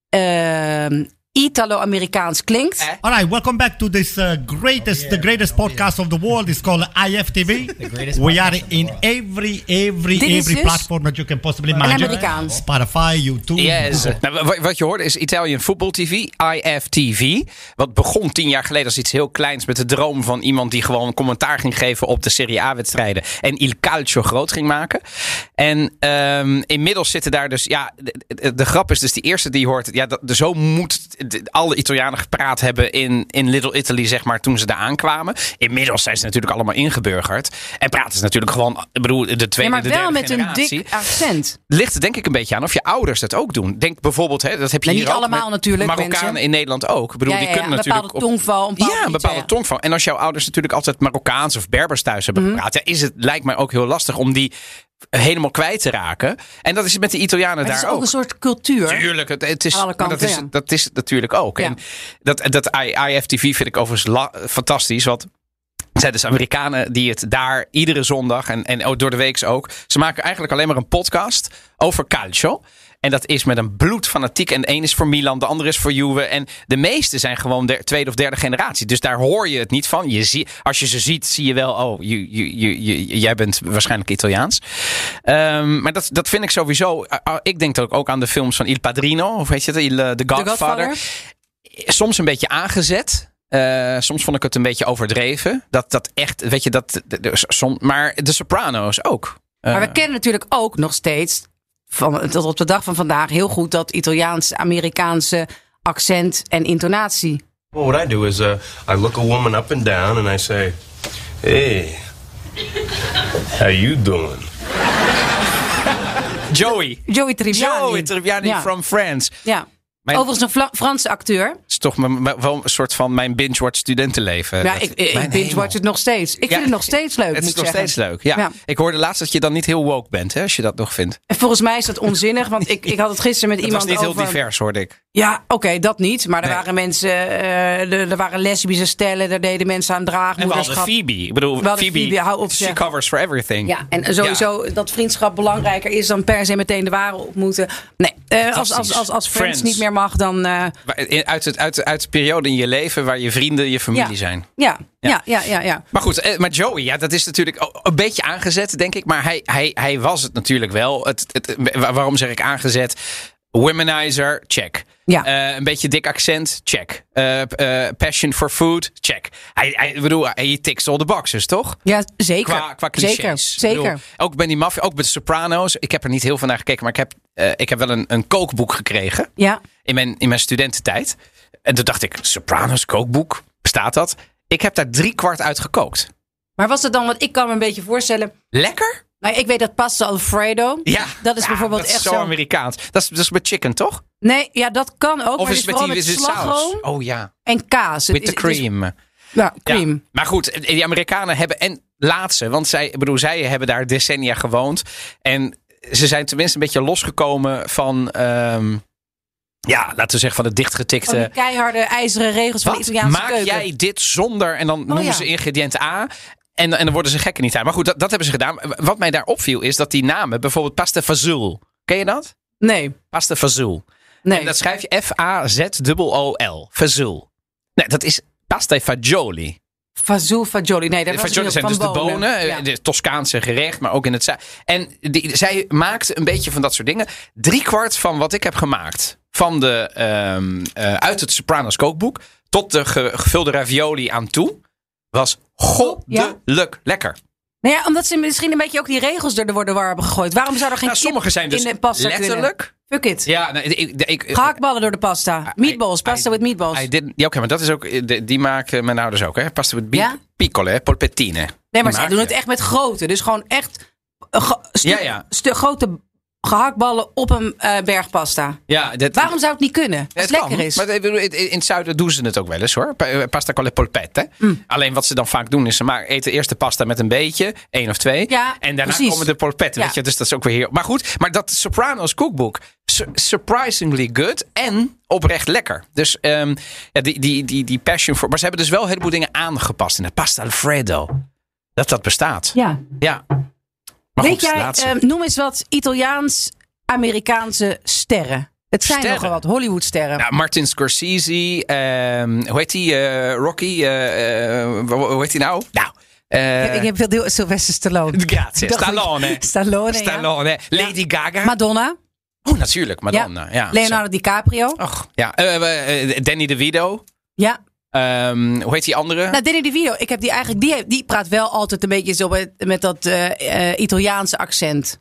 Speaker 1: ehm, Italo-Amerikaans klinkt...
Speaker 2: Eh?
Speaker 4: All right, welcome back to this uh, greatest,
Speaker 5: Oh,
Speaker 4: the greatest podcast of the world. It's called IFTV.
Speaker 5: greatest
Speaker 4: we are
Speaker 5: podcast of the
Speaker 4: in
Speaker 5: world.
Speaker 4: every, every,
Speaker 1: Dit is
Speaker 4: every
Speaker 1: dus
Speaker 4: platform that you can possibly
Speaker 1: een
Speaker 4: imagine.
Speaker 1: Amerikaans.
Speaker 4: Spotify, YouTube.
Speaker 2: Yes. Nou, wa- wat je hoorde is Italian Football TV, IFTV. Wat begon tien jaar geleden als iets heel kleins met de droom van iemand die gewoon commentaar ging geven op de Serie A-wedstrijden. En Il Calcio groot ging maken. En ehm, inmiddels zitten daar dus, ja, de, de- de grap is dus die eerste die je hoort, ja, dat, zo moet de- alle Italianen gepraat hebben in, in Little Italy, zeg maar, toen ze daar aankwamen. Inmiddels zijn ze natuurlijk allemaal ingeburgerd. En praten ze natuurlijk gewoon, ik bedoel, de
Speaker 1: Ja,
Speaker 2: tweede,
Speaker 1: maar
Speaker 2: de
Speaker 1: wel
Speaker 2: derde
Speaker 1: met een
Speaker 2: generatie
Speaker 1: dik accent.
Speaker 2: ligt er denk ik een beetje aan of je ouders dat ook doen. Denk bijvoorbeeld, hè, dat heb je
Speaker 1: Nee,
Speaker 2: hier
Speaker 1: niet
Speaker 2: ook
Speaker 1: allemaal
Speaker 2: met
Speaker 1: natuurlijk,
Speaker 2: Marokkanen
Speaker 1: mensen.
Speaker 2: in Nederland ook. Ik bedoel,
Speaker 1: Ja,
Speaker 2: die
Speaker 1: ja, ja,
Speaker 2: kunnen
Speaker 1: een
Speaker 2: natuurlijk
Speaker 1: bepaalde tongval, een bepaalde
Speaker 2: ja, een
Speaker 1: iets,
Speaker 2: bepaalde
Speaker 1: ja, ja.
Speaker 2: tongval. En als jouw ouders natuurlijk altijd Marokkaans of Berbers thuis
Speaker 1: Mhm.
Speaker 2: hebben gepraat, ja, is het lijkt mij ook heel lastig om die helemaal kwijt te raken. En dat is het met de Italianen
Speaker 1: Maar het
Speaker 2: daar
Speaker 1: is ook een soort cultuur.
Speaker 2: Tuurlijk, het, het is,
Speaker 1: Aan alle
Speaker 2: maar
Speaker 1: kanten,
Speaker 2: dat, is,
Speaker 1: ja.
Speaker 2: dat is het natuurlijk ook.
Speaker 1: Ja.
Speaker 2: En dat, dat I- IFTV vind ik overigens la- fantastisch. Want het zijn dus Amerikanen die het daar iedere zondag en, en ook door de weeks ook. Ze maken eigenlijk alleen maar een podcast over calcio. En dat is met een bloedfanatiek. En de een is voor Milan, de andere is voor Juve. En de meeste zijn gewoon de tweede of derde generatie. Dus daar hoor je het niet van. Je zie, als je ze ziet, zie je wel... Oh, je, je, je, je- jij bent waarschijnlijk Italiaans. Ehm, maar dat, dat vind ik sowieso... ah, ah, ik denk ook, ook aan de films van Il Padrino. Of weet je het? Il, eh, The
Speaker 1: Godfather.
Speaker 2: Godfather soms een beetje aangezet. Eh, soms vond ik het een beetje overdreven. Dat, dat echt, weet je, dat. de- de- som- maar de Soprano's ook. Eh,
Speaker 1: Maar we kennen natuurlijk ook nog steeds, van, tot op de dag van vandaag, heel goed dat Italiaans-Amerikaanse accent en intonatie.
Speaker 6: Well, what I do is uh, I look a woman up and down and I say, "Hey, how you doing?"
Speaker 2: Joey.
Speaker 1: Joey Tribbiani.
Speaker 2: Joey Tribbiani
Speaker 1: Ja.
Speaker 2: from France.
Speaker 1: Ja.
Speaker 2: Mijn-
Speaker 1: Overigens een Vla- Franse acteur.
Speaker 2: is toch mijn- mijn- wel een soort van mijn binge-watch studentenleven.
Speaker 1: Ja,
Speaker 2: Dat-
Speaker 1: ik, ik
Speaker 2: mijn hemel.
Speaker 1: binge-watch het nog steeds. Ik
Speaker 2: Ja,
Speaker 1: vind het nog steeds leuk,
Speaker 2: Het
Speaker 1: moet
Speaker 2: is
Speaker 1: ik
Speaker 2: nog
Speaker 1: zeggen.
Speaker 2: steeds leuk. Ja.
Speaker 1: Ja.
Speaker 2: Ik hoorde laatst dat je dan niet heel woke bent, hè, als je dat nog vindt.
Speaker 1: En Volgens mij is dat onzinnig, want ik, ik had het gisteren met
Speaker 2: Het
Speaker 1: iemand
Speaker 2: was niet
Speaker 1: over...
Speaker 2: heel divers, hoorde ik.
Speaker 1: Ja, oké, dat niet. Maar er
Speaker 2: Nee.
Speaker 1: waren mensen, eh, er, er waren lesbische stellen, daar deden mensen aan
Speaker 2: En we hadden
Speaker 1: draagmoederschap.
Speaker 2: Phoebe. Ik bedoel,
Speaker 1: We hadden
Speaker 2: Phoebe,
Speaker 1: Phoebe, hou op,
Speaker 2: she
Speaker 1: zeg.
Speaker 2: covers for everything.
Speaker 1: Ja, en sowieso dat vriendschap belangrijker is dan per se meteen de ware ontmoeten. Nee, eh, als, als, als, als friends,
Speaker 2: Friends.
Speaker 1: niet meer mag, dan... eh,
Speaker 2: Wa- in- Uit, het, uit, uit de periode in je leven waar je vrienden je familie
Speaker 1: ja.
Speaker 2: zijn.
Speaker 1: Ja, ja, ja, ja. ja.
Speaker 2: Maar goed, eh, maar Joey, ja, dat is natuurlijk o- een beetje aangezet, denk ik. Maar hij, hij, hij was het natuurlijk wel. Het, het, wa- waarom zeg ik aangezet? Womanizer, check.
Speaker 1: Ja.
Speaker 2: Eh, een beetje dik accent, check. Eh, p- eh, passion for food, check. Hij, hij, ik bedoel, hij tikt all the boxes, toch?
Speaker 1: Ja, zeker.
Speaker 2: Qua, qua clichés.
Speaker 1: Zeker,
Speaker 2: Ik
Speaker 1: zeker.
Speaker 2: bedoel, ook bij die maffia, ook bij de Soprano's. Ik heb er niet heel veel naar gekeken, maar ik heb, eh, ik heb wel een, een kookboek gekregen
Speaker 1: ja.
Speaker 2: in mijn, in mijn studententijd. En toen dacht ik, Sopranos kookboek, bestaat dat? Ik heb daar drie kwart uit gekookt.
Speaker 1: Maar was het dan, want ik kan me een beetje voorstellen...
Speaker 2: Lekker?
Speaker 1: Nou, ik weet dat pasta Alfredo.
Speaker 2: Ja.
Speaker 1: Dat is
Speaker 2: Ja,
Speaker 1: bijvoorbeeld
Speaker 2: dat is
Speaker 1: echt
Speaker 2: zo
Speaker 1: zo...
Speaker 2: Amerikaans. Dat is, dat is met chicken, toch?
Speaker 1: Nee, ja, dat kan ook.
Speaker 2: Of
Speaker 1: maar het
Speaker 2: is het met die
Speaker 1: vooral
Speaker 2: is het saus?
Speaker 1: slagroom
Speaker 2: Oh ja,
Speaker 1: en kaas. Het
Speaker 2: with the
Speaker 1: is- het is-
Speaker 2: cream.
Speaker 1: ja,
Speaker 2: Ja,
Speaker 1: cream.
Speaker 2: Maar goed, die Amerikanen hebben. En laat ze, want zij, ik bedoel, zij hebben daar decennia gewoond. En ze zijn tenminste een beetje losgekomen van. ehm, ja, laten we zeggen van het dichtgetikte.
Speaker 1: Van die keiharde ijzeren regels van de
Speaker 2: eh, Wat?
Speaker 1: Italiaanse
Speaker 2: Maak
Speaker 1: keuken. Oh,
Speaker 2: jij dit zonder. En dan noemen
Speaker 1: ja.
Speaker 2: ze ingrediënt A. En, en dan worden ze gekken niet aan. Maar goed, dat, dat hebben ze gedaan. Wat mij daar opviel is dat die namen, bijvoorbeeld pasta fazool. Ken je dat?
Speaker 1: Nee,
Speaker 2: Pasta fazool.
Speaker 1: nee.
Speaker 2: En dat schrijf je F-A-Z-O-O-L. Fazool. Nee, dat is pasta fagioli.
Speaker 1: Fazool fagioli. Nee, dat was
Speaker 2: Fagioli zijn
Speaker 1: van
Speaker 2: dus de bonen.
Speaker 1: Ja.
Speaker 2: Het Toscaanse gerecht, maar ook in het... za- En die, zij maakt een beetje van dat soort dingen. Driekwart van wat ik heb gemaakt... Van de, ehm, eh, uit het Sopranos kookboek... tot de ge- gevulde ravioli aan toe... was goddelijk lekker.
Speaker 1: Nou ja, omdat ze misschien een beetje ook die regels door de worden war hebben gegooid. Waarom zou er geen
Speaker 2: Nou,
Speaker 1: kip
Speaker 2: sommige zijn dus
Speaker 1: in de pasta kunnen?
Speaker 2: letterlijk...
Speaker 1: Fuck it.
Speaker 2: Ja, nou, ik, ik, ik,
Speaker 1: Gehaktballen door de pasta. Meatballs.
Speaker 2: I-
Speaker 1: Pasta
Speaker 2: I-
Speaker 1: with meatballs.
Speaker 2: Hij did- ja, oké, maar dat is ook, eh, de- die maken mijn ouders ook, hè? Pasta met
Speaker 1: Ja?
Speaker 2: ja? piccolo, hè? polpettine.
Speaker 1: nee, maar
Speaker 2: Die
Speaker 1: zij doen het
Speaker 2: maakten.
Speaker 1: echt met grote. Dus gewoon echt eh, ge- stu-
Speaker 2: Ja, ja.
Speaker 1: stu- grote gehaktballen op een eh, berg pasta.
Speaker 2: Ja, dat,
Speaker 1: Waarom zou het niet kunnen? Als het
Speaker 2: Het kan,
Speaker 1: lekker is.
Speaker 2: Maar ik bedoel, in in het zuiden doen ze het ook wel eens hoor. Pa- eh, Pasta con le polpette.
Speaker 1: Mm.
Speaker 2: Alleen wat ze dan vaak doen is ze maken, eten eerst de pasta met een beetje, één of twee.
Speaker 1: Ja,
Speaker 2: en daarna
Speaker 1: precies.
Speaker 2: komen de polpetten.
Speaker 1: Ja.
Speaker 2: Weet je? Dus dat is ook weer heel. Maar goed, maar dat Sopranos kookboek. su- Surprisingly good en oprecht lekker. Dus ehm, ja, die, die, die, die passion voor. Maar ze hebben dus wel een heleboel dingen aangepast in de pasta Alfredo. Dat dat bestaat.
Speaker 1: ja.
Speaker 2: Ja. Maar
Speaker 1: Weet
Speaker 2: goed,
Speaker 1: jij,
Speaker 2: laatste.
Speaker 1: eh, noem eens wat Italiaans-Amerikaanse sterren. Het zijn
Speaker 2: Sterren?
Speaker 1: nogal wat Hollywood-sterren.
Speaker 2: Ja, Martin Scorsese, ehm, hoe heet die, eh, Rocky, eh, eh, hoe- hoe heet die nou? Nou, eh,
Speaker 1: ik heb veel deel Sylvester Stallone.
Speaker 2: grazie,
Speaker 1: Ik dacht-
Speaker 2: Stallone.
Speaker 1: Stallone, ja.
Speaker 2: Stallone, Lady Gaga.
Speaker 1: Madonna.
Speaker 2: oh, natuurlijk, Madonna. Ja.
Speaker 1: Leonardo DiCaprio.
Speaker 2: Zo. Och, ja. Eh, eh, eh, Danny DeVito.
Speaker 1: Ja.
Speaker 2: Ehm hoe heet die andere?
Speaker 1: Nou, Danny DeVito, ik heb die eigenlijk, die, die praat wel altijd een beetje zo met, met dat eh, eh, Italiaanse accent.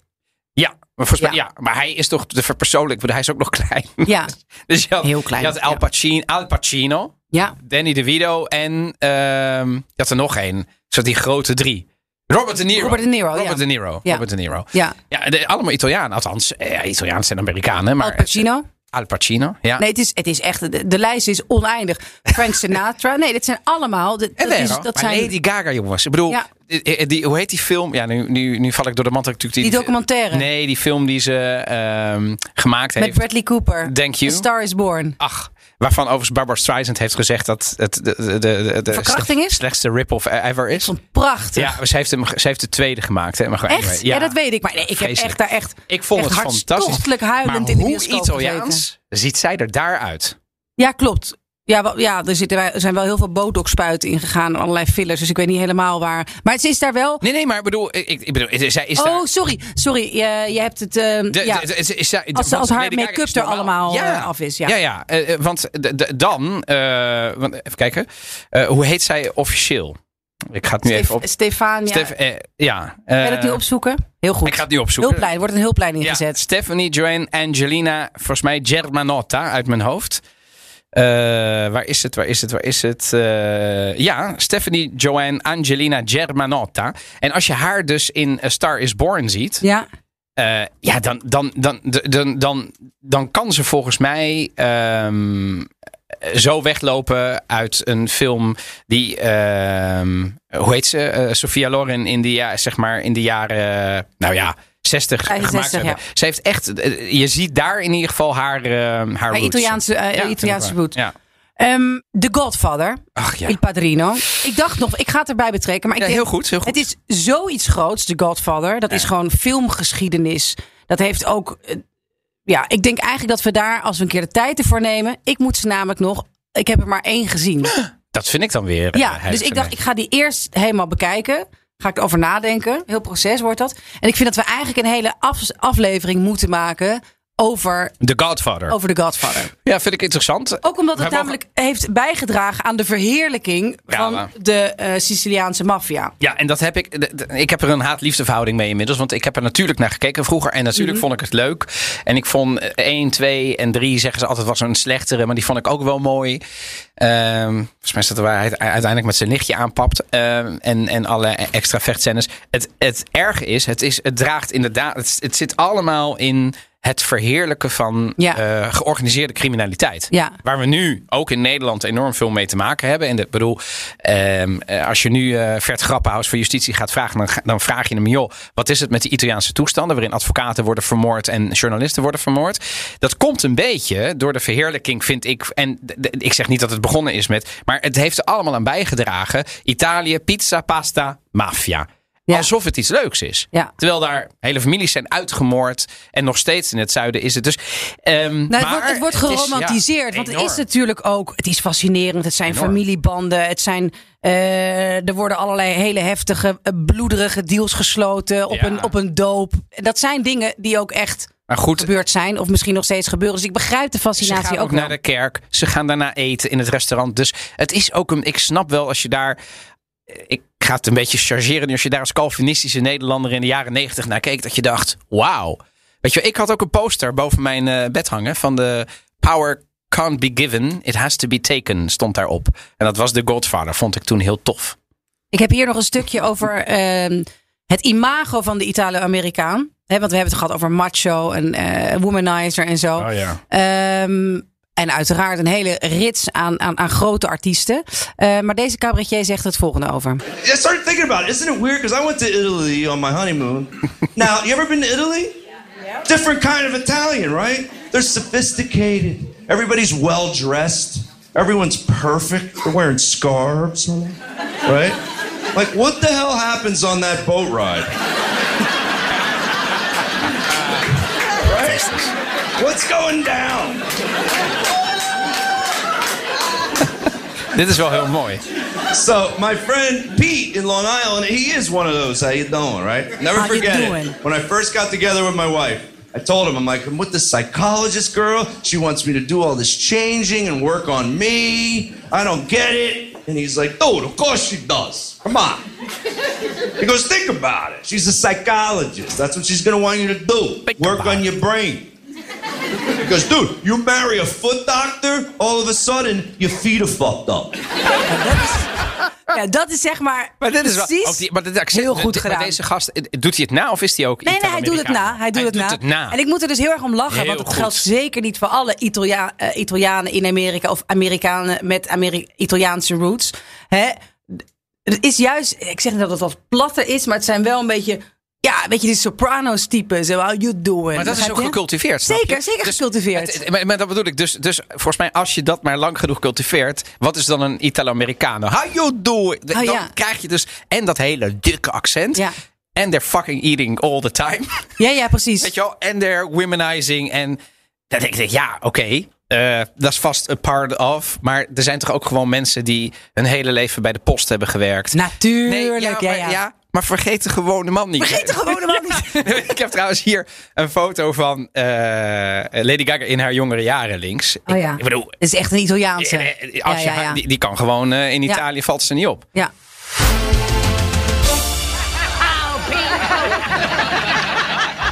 Speaker 2: ja, maar volgens mij,
Speaker 1: Ja.
Speaker 2: ja. maar hij is toch de verpersoonlijk, hij is ook nog klein.
Speaker 1: Ja,
Speaker 2: dus je had,
Speaker 1: Heel klein,
Speaker 2: Je had Al
Speaker 1: ja.
Speaker 2: Pacino, Al Pacino
Speaker 1: ja.
Speaker 2: Danny DeVito en ehm je had er nog één. Zo die grote drie. Robert De Niro.
Speaker 1: Robert De Niro,
Speaker 2: Robert
Speaker 1: ja.
Speaker 2: De Niro.
Speaker 1: Ja.
Speaker 2: Robert De Niro.
Speaker 1: Ja.
Speaker 2: Ja, de- allemaal Italiaan. Althans, eh, ja, Italiaans en Amerikanen. Maar ah.
Speaker 1: Al Pacino.
Speaker 2: Al Pacino, ja.
Speaker 1: Nee, het is, het is echt, de, de lijst is oneindig. Frank Sinatra. Nee, dit zijn allemaal. dit-
Speaker 2: En
Speaker 1: dat is,
Speaker 2: Vero.
Speaker 1: dat
Speaker 2: maar
Speaker 1: zijn
Speaker 2: Lady Gaga, jongens. Ik bedoel,
Speaker 1: Ja.
Speaker 2: die, eh, die- hoe heet die film? Ja, nu, nu, nu val ik door de mand. dat ik
Speaker 1: die
Speaker 2: Natuurlijk
Speaker 1: documentaire
Speaker 2: Nee, die film die ze ehm, gemaakt
Speaker 1: met
Speaker 2: heeft.
Speaker 1: Bradley Cooper.
Speaker 2: Thank you.
Speaker 1: A Star is Born.
Speaker 2: Ach, waarvan overigens Barbara Streisand heeft gezegd dat het de, de, de, de
Speaker 1: Verkrachting is?
Speaker 2: slechtste rip-off e-, ever is.
Speaker 1: Prachtig.
Speaker 2: Ja, maar ze heeft, hem, ze heeft de tweede gemaakt. Hè? Maar goed,
Speaker 1: Echt?
Speaker 2: anyway,
Speaker 1: ja. dat weet ik. Maar nee, ik heb
Speaker 2: Vreselijk.
Speaker 1: echt daar echt.
Speaker 2: Ik vond
Speaker 1: echt
Speaker 2: het fantastisch.
Speaker 1: hartstochtelijk huilend
Speaker 2: maar
Speaker 1: in de
Speaker 2: hoe
Speaker 1: bioscoop
Speaker 2: Italiaans
Speaker 1: gezeten.
Speaker 2: ziet zij er daaruit?
Speaker 1: Ja, klopt. Ja, wel- ja, er zitten, wij- er zijn wel heel veel botox-spuiten ingegaan. Allerlei fillers. Dus ik weet niet helemaal waar. Maar het is daar wel.
Speaker 2: Nee, nee, maar ik bedoel, ik, ik bedoel eh, zij is
Speaker 1: oh,
Speaker 2: daar...
Speaker 1: sorry. Sorry. Je, je hebt het. eh,
Speaker 2: de-
Speaker 1: ja.
Speaker 2: de- de- is- is zij-
Speaker 1: Als-
Speaker 2: want
Speaker 1: als haar
Speaker 2: Lady Gaga
Speaker 1: make-up
Speaker 2: is
Speaker 1: er
Speaker 2: normaal-
Speaker 1: allemaal, eh, af is, ja.
Speaker 2: ja, eh, eh, want de- de- dan, eh, want, even kijken, Eh, hoe heet zij officieel? Ik ga het nu even op...
Speaker 1: Stef- Stefania.
Speaker 2: Stef, eh, ja.
Speaker 1: Kan je
Speaker 2: eh,
Speaker 1: dat nu opzoeken? Heel goed.
Speaker 2: Ik ga het nu opzoeken.
Speaker 1: Hulplijn. Wordt een hulplijn ingezet.
Speaker 2: Ja, Stephanie, Joanne, Angelina, volgens mij Germanotta uit mijn hoofd. Eh, waar is het, waar is het, waar is het? Eh, ja, Stephanie, Joanne, Angelina, Germanotta. En als je haar dus in A Star is Born ziet,
Speaker 1: Ja.
Speaker 2: eh, ja, dan, dan, dan, dan, dan, dan kan ze volgens mij ehm, zo weglopen uit een film die, ehm, hoe heet ze? Eh, Sophia Loren in de, ja- zeg maar in de jaren, eh, nou ja, 60 gemaakt.
Speaker 1: 65,
Speaker 2: hebben.
Speaker 1: ja.
Speaker 2: Ze heeft echt, eh, je ziet daar in ieder geval haar, eh, haar,
Speaker 1: Haar
Speaker 2: roots.
Speaker 1: Italiaanse, eh,
Speaker 2: Ja,
Speaker 1: Italiaanse bloed.
Speaker 2: Ja.
Speaker 1: Ehm, The Godfather.
Speaker 2: Ach ja.
Speaker 1: Il Padrino. Ik dacht nog, ik ga het erbij betrekken. Maar ik
Speaker 2: Ja,
Speaker 1: denk-
Speaker 2: heel goed, heel goed.
Speaker 1: Het is zoiets groots, The Godfather. Dat is gewoon filmgeschiedenis. Dat heeft ook... eh, Ja, ik denk eigenlijk dat we daar, als we een keer de tijd ervoor nemen... Ik moet ze namelijk nog... Ik heb er maar één gezien.
Speaker 2: Dat vind ik dan weer. eh,
Speaker 1: Ja, dus
Speaker 2: heilig.
Speaker 1: ik dacht, ik ga die eerst helemaal bekijken. Ga ik erover nadenken. Heel proces wordt dat. En ik vind dat we eigenlijk een hele af- aflevering moeten maken... Over,
Speaker 2: The Godfather.
Speaker 1: over The Godfather.
Speaker 2: Ja, vind ik interessant.
Speaker 1: Ook omdat het
Speaker 2: Wij mogen-
Speaker 1: namelijk heeft bijgedragen aan de verheerlijking
Speaker 2: Ja,
Speaker 1: van
Speaker 2: maar-
Speaker 1: de eh, Siciliaanse maffia.
Speaker 2: Ja, en dat heb ik. d- d- Ik heb er een haat-liefdeverhouding mee inmiddels. Want ik heb er natuurlijk naar gekeken vroeger. En
Speaker 1: Mhm.
Speaker 2: natuurlijk vond ik het leuk. En ik vond eh, 1, 2 en 3 zeggen ze altijd was een slechtere. Maar die vond ik ook wel mooi. Ehm, volgens mij is dat waar hij het u- uiteindelijk met zijn lichtje aanpapt. Ehm, en, en alle extra vechtscènes. Het, het erge is, het, is, het draagt inderdaad. Het, het zit allemaal in het verheerlijken van
Speaker 1: Ja.
Speaker 2: eh, georganiseerde criminaliteit.
Speaker 1: Ja.
Speaker 2: Waar we nu ook in Nederland enorm veel mee te maken hebben. En ik bedoel, ehm, eh, als je nu eh Vert Grappenhuis voor justitie gaat vragen, dan, ga- dan vraag je hem, joh, wat is het met die Italiaanse toestanden waarin advocaten worden vermoord en journalisten worden vermoord? Dat komt een beetje door de verheerlijking, vind ik. En d- d- ik zeg niet dat het begonnen is met, maar het heeft er allemaal aan bijgedragen. Italië, pizza, pasta, maffia.
Speaker 1: Ja.
Speaker 2: Alsof het iets leuks is.
Speaker 1: Ja.
Speaker 2: Terwijl daar hele families zijn uitgemoord. En nog steeds in het zuiden is het dus. ehm, maar
Speaker 1: Nou, het, wordt, het wordt
Speaker 2: is, ja,
Speaker 1: geromantiseerd. want het is
Speaker 2: enorm.
Speaker 1: natuurlijk ook. Het is fascinerend. Het zijn
Speaker 2: Enorm.
Speaker 1: familiebanden. Het zijn, eh, er worden allerlei hele heftige, eh, bloederige deals gesloten. Op,
Speaker 2: Ja.
Speaker 1: een, op een doop. Dat zijn dingen die ook echt
Speaker 2: Maar goed,
Speaker 1: gebeurd zijn. Of misschien nog steeds gebeuren. Dus ik begrijp de
Speaker 2: ze
Speaker 1: fascinatie
Speaker 2: gaan ook
Speaker 1: ook wel.
Speaker 2: naar de kerk. Ze gaan daarna eten in het restaurant. Dus het is ook een. Ik snap wel als je daar. Ik ga het een beetje chargeren. nu. Als je daar als Calvinistische Nederlander in de jaren negentig naar keek, dat je dacht: wauw. Weet je, wel, ik had ook een poster boven mijn eh, bed hangen van de Power Can't Be Given, It Has to Be Taken, stond daarop. En dat was The Godfather, vond ik toen heel tof.
Speaker 1: Ik heb hier nog een stukje over ehm, het imago van de Italo-Amerikaan. Hè, want we hebben het gehad over macho en eh, womanizer en zo.
Speaker 2: Oh ja.
Speaker 1: Ehm, en uiteraard een hele rits aan, aan, aan grote artiesten. Eh, maar deze cabaretier zegt het volgende over.
Speaker 5: I started thinking about it. Isn't it weird? Because I went to Italy on my honeymoon. now, you ever been to Italy? Different kind of Italian, right? They're sophisticated. Everybody's well dressed. Everyone's perfect. They're wearing scarves, right? Like, what the hell happens on that boat ride? right? What's going down?
Speaker 2: Dit is wel heel mooi.
Speaker 5: So my friend Pete in Long Island, he is one of those. How you doing, right? Never
Speaker 1: How you
Speaker 5: forget
Speaker 1: doing?
Speaker 5: it. When I first got together with my wife, I told him, I'm like, I'm with this psychologist girl. She wants me to do all this changing and work on me. I don't get it. And he's like, dude, of course she does. Come on. He goes, think about it. She's a psychologist. That's what she's gonna want you to do. work on your brain. He goes, dude, you marry a foot doctor, all of a sudden your feet are fucked up.
Speaker 1: Nou, Ja, nou, dat is zeg maar,
Speaker 2: Maar dit is Dus wel,
Speaker 1: precies
Speaker 2: ook die- maar dit accent-
Speaker 1: heel
Speaker 2: dit-
Speaker 1: goed
Speaker 2: maar
Speaker 1: gedaan.
Speaker 2: deze gast, eh, doet hij het na of is hij ook
Speaker 1: Nee, nee, hij doet het na. Hij doet, het, na. En ik moet er dus heel erg om lachen.
Speaker 2: Heel
Speaker 1: want het
Speaker 2: goed.
Speaker 1: geldt zeker niet voor alle Italia- eh, Italianen in Amerika. Of Amerikanen met Ameri- Italiaanse roots. Hè? D- Het is juist, ik zeg niet dat het wat platter is. Maar het zijn wel een beetje, ja, weet je, die sopranos types. How you doing?
Speaker 2: maar dat is
Speaker 1: Begrijp
Speaker 2: ook
Speaker 1: je?
Speaker 2: gecultiveerd. snap
Speaker 1: Zeker,
Speaker 2: je? Dus
Speaker 1: zeker gecultiveerd.
Speaker 2: het- het- maar, maar dat bedoel ik. Dus, dus volgens mij, als je dat maar lang genoeg cultiveert, wat is dan een Italo-Americano? How you doing? Dan
Speaker 1: Oh, ja.
Speaker 2: krijg je dus en dat hele dikke accent.
Speaker 1: Ja.
Speaker 2: En they're fucking eating all the time.
Speaker 1: ja, ja, precies.
Speaker 2: Weet je wel? En they're womenizing. En dan denk ik, ja, oké. eh, dat is vast een part of. Maar er zijn toch ook gewoon mensen die hun hele leven bij de post hebben gewerkt.
Speaker 1: Natuurlijk,
Speaker 2: ja,
Speaker 1: ja,
Speaker 2: maar,
Speaker 1: ja.
Speaker 2: maar vergeet de gewone man niet.
Speaker 1: Vergeet de gewone man niet.
Speaker 2: ik heb trouwens hier een foto van eh, Lady Gaga in haar jongere jaren links.
Speaker 1: Oh ja,
Speaker 2: Ik bedoel,
Speaker 1: het is echt een Italiaanse.
Speaker 2: eh, eh, als je
Speaker 1: ja, ja,
Speaker 2: haar-
Speaker 1: ja.
Speaker 2: Die, die kan gewoon eh, in Italië valt ze niet op.
Speaker 1: ja.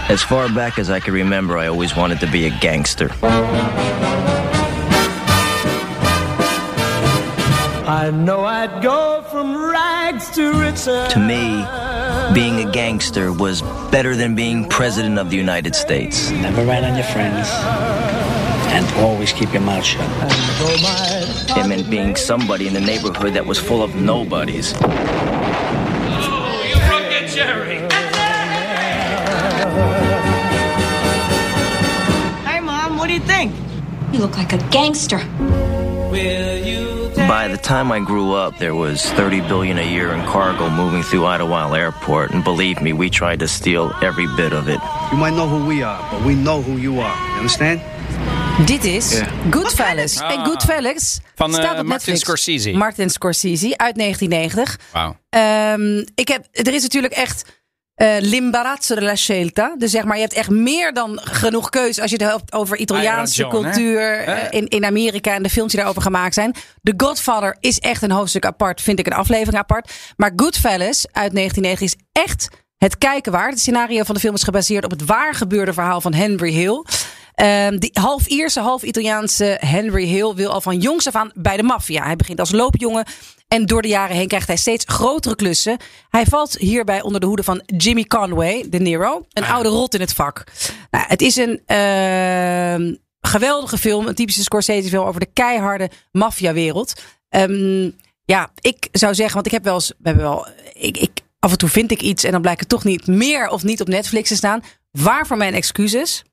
Speaker 7: As far back as I can remember, I always wanted to be a gangster.
Speaker 8: I know I'd go from rags to riches.
Speaker 7: To me, being a gangster was better than being president of the United States.
Speaker 9: Never rat on your friends. And always keep your mouth shut.
Speaker 7: It meant being somebody in a neighborhood that was full of nobodies.
Speaker 8: Hey, Mom, what do you think?
Speaker 10: You look like a gangster.
Speaker 7: By the time I grew up, there was 30 billion a year in cargo moving through Idlewild Airport, and believe me, we tried to steal every bit of it.
Speaker 9: You might know who we are, but we know who you are. You understand?
Speaker 1: Dit is Goodfellas.
Speaker 2: Ah.
Speaker 1: En Goodfellas
Speaker 2: Van, eh,
Speaker 1: staat op
Speaker 2: Martin
Speaker 1: Netflix.
Speaker 2: Scorsese.
Speaker 1: Martin Scorsese uit 1990.
Speaker 2: Wauw.
Speaker 1: Ehm, ik heb, er is natuurlijk echt eh l'imbarazzo della scelta. Dus zeg maar, je hebt echt meer dan genoeg keus als je het hebt over Italiaanse
Speaker 2: Ira John, hè?
Speaker 1: cultuur eh,
Speaker 2: Eh.
Speaker 1: in, in Amerika en de films die daarover gemaakt zijn. The Godfather is echt een hoofdstuk apart, vind ik een aflevering apart. Maar Goodfellas uit 1990 is echt het kijken waard. Het scenario van de film is gebaseerd op het waar gebeurde verhaal van Henry Hill. Ehm, die half Ierse, half Italiaanse Henry Hill wil al van jongs af aan bij de maffia. Hij begint als loopjongen en door de jaren heen krijgt hij steeds grotere klussen. Hij valt hierbij onder de hoede van Jimmy Conway, de Nero, een oude rot in het vak. Nou, het is een ehm, geweldige film, een typische Scorsese-film over de keiharde maffiawereld. Ehm, ja, ik zou zeggen, want ik heb wel eens, we hebben wel, ik, ik, af en toe vind ik iets en dan blijkt het toch niet meer of niet op Netflix te staan. Waarvoor mijn excuses?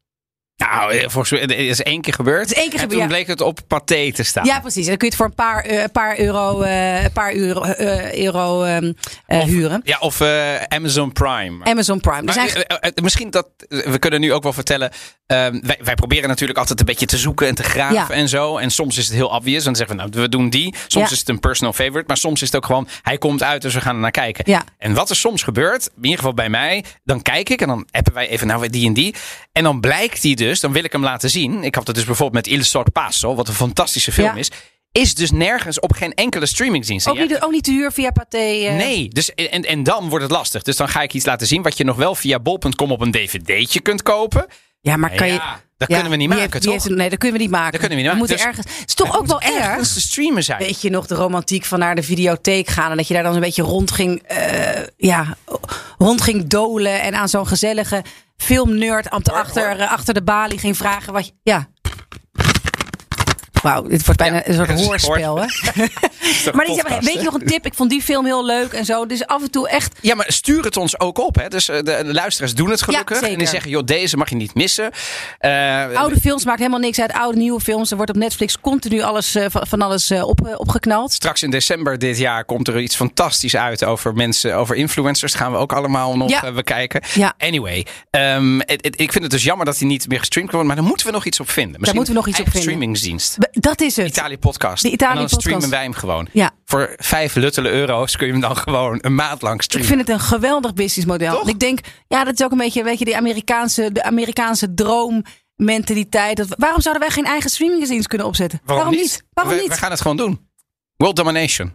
Speaker 2: Nou, eh, volgens mij het is één keer gebeurd.
Speaker 1: Het is één keer
Speaker 2: en
Speaker 1: gebeurd,
Speaker 2: toen
Speaker 1: ja.
Speaker 2: bleek het op Pathé te staan.
Speaker 1: Ja, precies. En dan kun je het voor een paar, eh, paar euro, eh, een paar euro, eh, euro ehm, eh, huren.
Speaker 2: Ja, of eh, Amazon Prime.
Speaker 1: Amazon Prime. Dus
Speaker 2: Maar,
Speaker 1: eigenlijk-
Speaker 2: eh, eh, eh, misschien dat eh, we kunnen nu ook wel vertellen. ehm, wij, wij proberen natuurlijk altijd een beetje te zoeken en te graven
Speaker 1: Ja.
Speaker 2: en zo. En soms is het heel obvious. En dan zeggen we, nou, we doen die. Soms
Speaker 1: Ja.
Speaker 2: is het een personal favorite. Maar soms is het ook gewoon, hij komt uit, dus we gaan er naar kijken.
Speaker 1: Ja.
Speaker 2: En wat er soms gebeurt, in ieder geval bij mij, dan kijk ik en dan appen wij even, nou, die en die. En dan blijkt die dus, dan wil ik hem laten zien. Ik had het dus bijvoorbeeld met Il Sorpasso, wat een fantastische film
Speaker 1: Ja.
Speaker 2: is. Is dus nergens op geen enkele streamingdienst. En
Speaker 1: ook,
Speaker 2: jij-
Speaker 1: niet, ook niet te huur via Pathé. eh,
Speaker 2: eh, Nee, dus en, en dan wordt het lastig. Dus dan ga ik iets laten zien wat je nog wel via bol.com op een dvd'tje kunt kopen.
Speaker 1: Ja, maar kan
Speaker 2: Ja,
Speaker 1: je...
Speaker 2: dat
Speaker 1: ja,
Speaker 2: kunnen we niet
Speaker 1: wie
Speaker 2: maken,
Speaker 1: heeft- wie
Speaker 2: toch?
Speaker 1: heeft- nee, dat kunnen we niet maken.
Speaker 2: Dat kunnen we niet
Speaker 1: We moeten
Speaker 2: maken. Dus
Speaker 1: ergens... Het is toch ook wel erg.
Speaker 2: Ergens te streamen zijn.
Speaker 1: Weet je nog de romantiek van naar de videotheek gaan en dat je daar dan een beetje rond ging, eh, ja, rond ging dolen en aan zo'n gezellige filmnerd ambt achter, eh, achter de balie ging vragen wat je, ja. Wauw, dit wordt bijna een soort
Speaker 2: het is een
Speaker 1: hoorspel, hè?
Speaker 2: toch
Speaker 1: maar die
Speaker 2: podcast,
Speaker 1: zeggen, weet
Speaker 2: hè?
Speaker 1: je nog een tip? Ik vond die film heel leuk en zo. Dus af en toe echt,
Speaker 2: Ja, maar stuur het ons ook op. Hè? Dus eh, de, de luisteraars doen het gelukkig.
Speaker 1: zeker. Oh.
Speaker 2: en die zeggen, joh, deze mag je niet missen. Eh,
Speaker 1: oude films maakt helemaal niks uit. Oude, nieuwe films. Er wordt op Netflix continu alles, eh, van van alles eh, op, eh, opgeknald.
Speaker 2: Straks in december dit jaar komt er iets fantastisch uit over mensen, over influencers. Dat gaan we ook allemaal nog
Speaker 1: Ja.
Speaker 2: eh, bekijken.
Speaker 1: Ja.
Speaker 2: Anyway, ehm, het- het- ik vind het dus jammer dat hij niet meer gestreamd kan worden. Maar daar moeten we nog iets op vinden. Misschien
Speaker 1: moeten we nog iets
Speaker 2: een
Speaker 1: op vinden.
Speaker 2: streamingsdienst.
Speaker 1: Be- Dat is het.
Speaker 2: Italië podcast.
Speaker 1: De Italië
Speaker 2: en dan
Speaker 1: podcast.
Speaker 2: streamen wij hem gewoon.
Speaker 1: Ja.
Speaker 2: Voor vijf luttele euro's kun je hem dan gewoon een maand lang
Speaker 1: Ik
Speaker 2: streamen.
Speaker 1: vind het een geweldig businessmodel. Ik denk, ja, dat is ook een beetje, weet je, die Amerikaanse, de Amerikaanse droommentaliteit. Dat, waarom zouden wij geen eigen streamingdienst kunnen opzetten? Waarom
Speaker 2: we,
Speaker 1: niet?
Speaker 2: We gaan het gewoon doen. World Domination.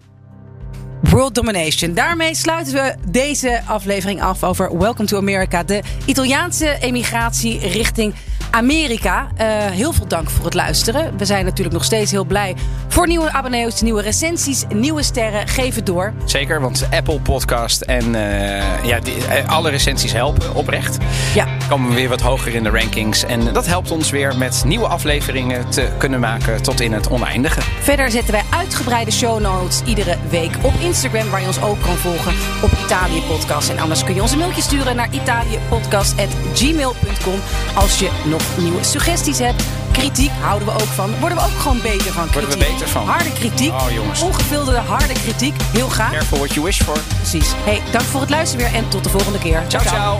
Speaker 1: World Domination. Daarmee sluiten we deze aflevering af over Welcome to America. De Italiaanse emigratie richting Amerika. Eh, heel veel dank voor het luisteren. We zijn natuurlijk nog steeds heel blij voor nieuwe abonnees, nieuwe recensies, nieuwe sterren. Geef het door.
Speaker 2: Zeker, want Apple Podcast en eh, ja, die, eh, alle recensies helpen oprecht.
Speaker 1: Ja.
Speaker 2: Komen we weer wat hoger in de rankings. En dat helpt ons weer met nieuwe afleveringen te kunnen maken tot in het oneindige.
Speaker 1: Verder zetten wij uitgebreide show notes iedere week op Instagram, waar je ons ook kan volgen op Italië Podcast. En anders kun je ons een mailtje sturen naar italiëpodcast.gmail.com als je nog nieuwe suggesties hebt. Kritiek houden we ook van. Worden we ook gewoon beter van kritiek.
Speaker 2: Worden we beter van.
Speaker 1: Harde kritiek.
Speaker 2: Oh, jongens.
Speaker 1: Ongefilterde harde kritiek. Heel graag.
Speaker 2: Careful what you wish for.
Speaker 1: Precies. Hey, dank voor het luisteren weer en tot de volgende keer.
Speaker 2: Ciao, ciao.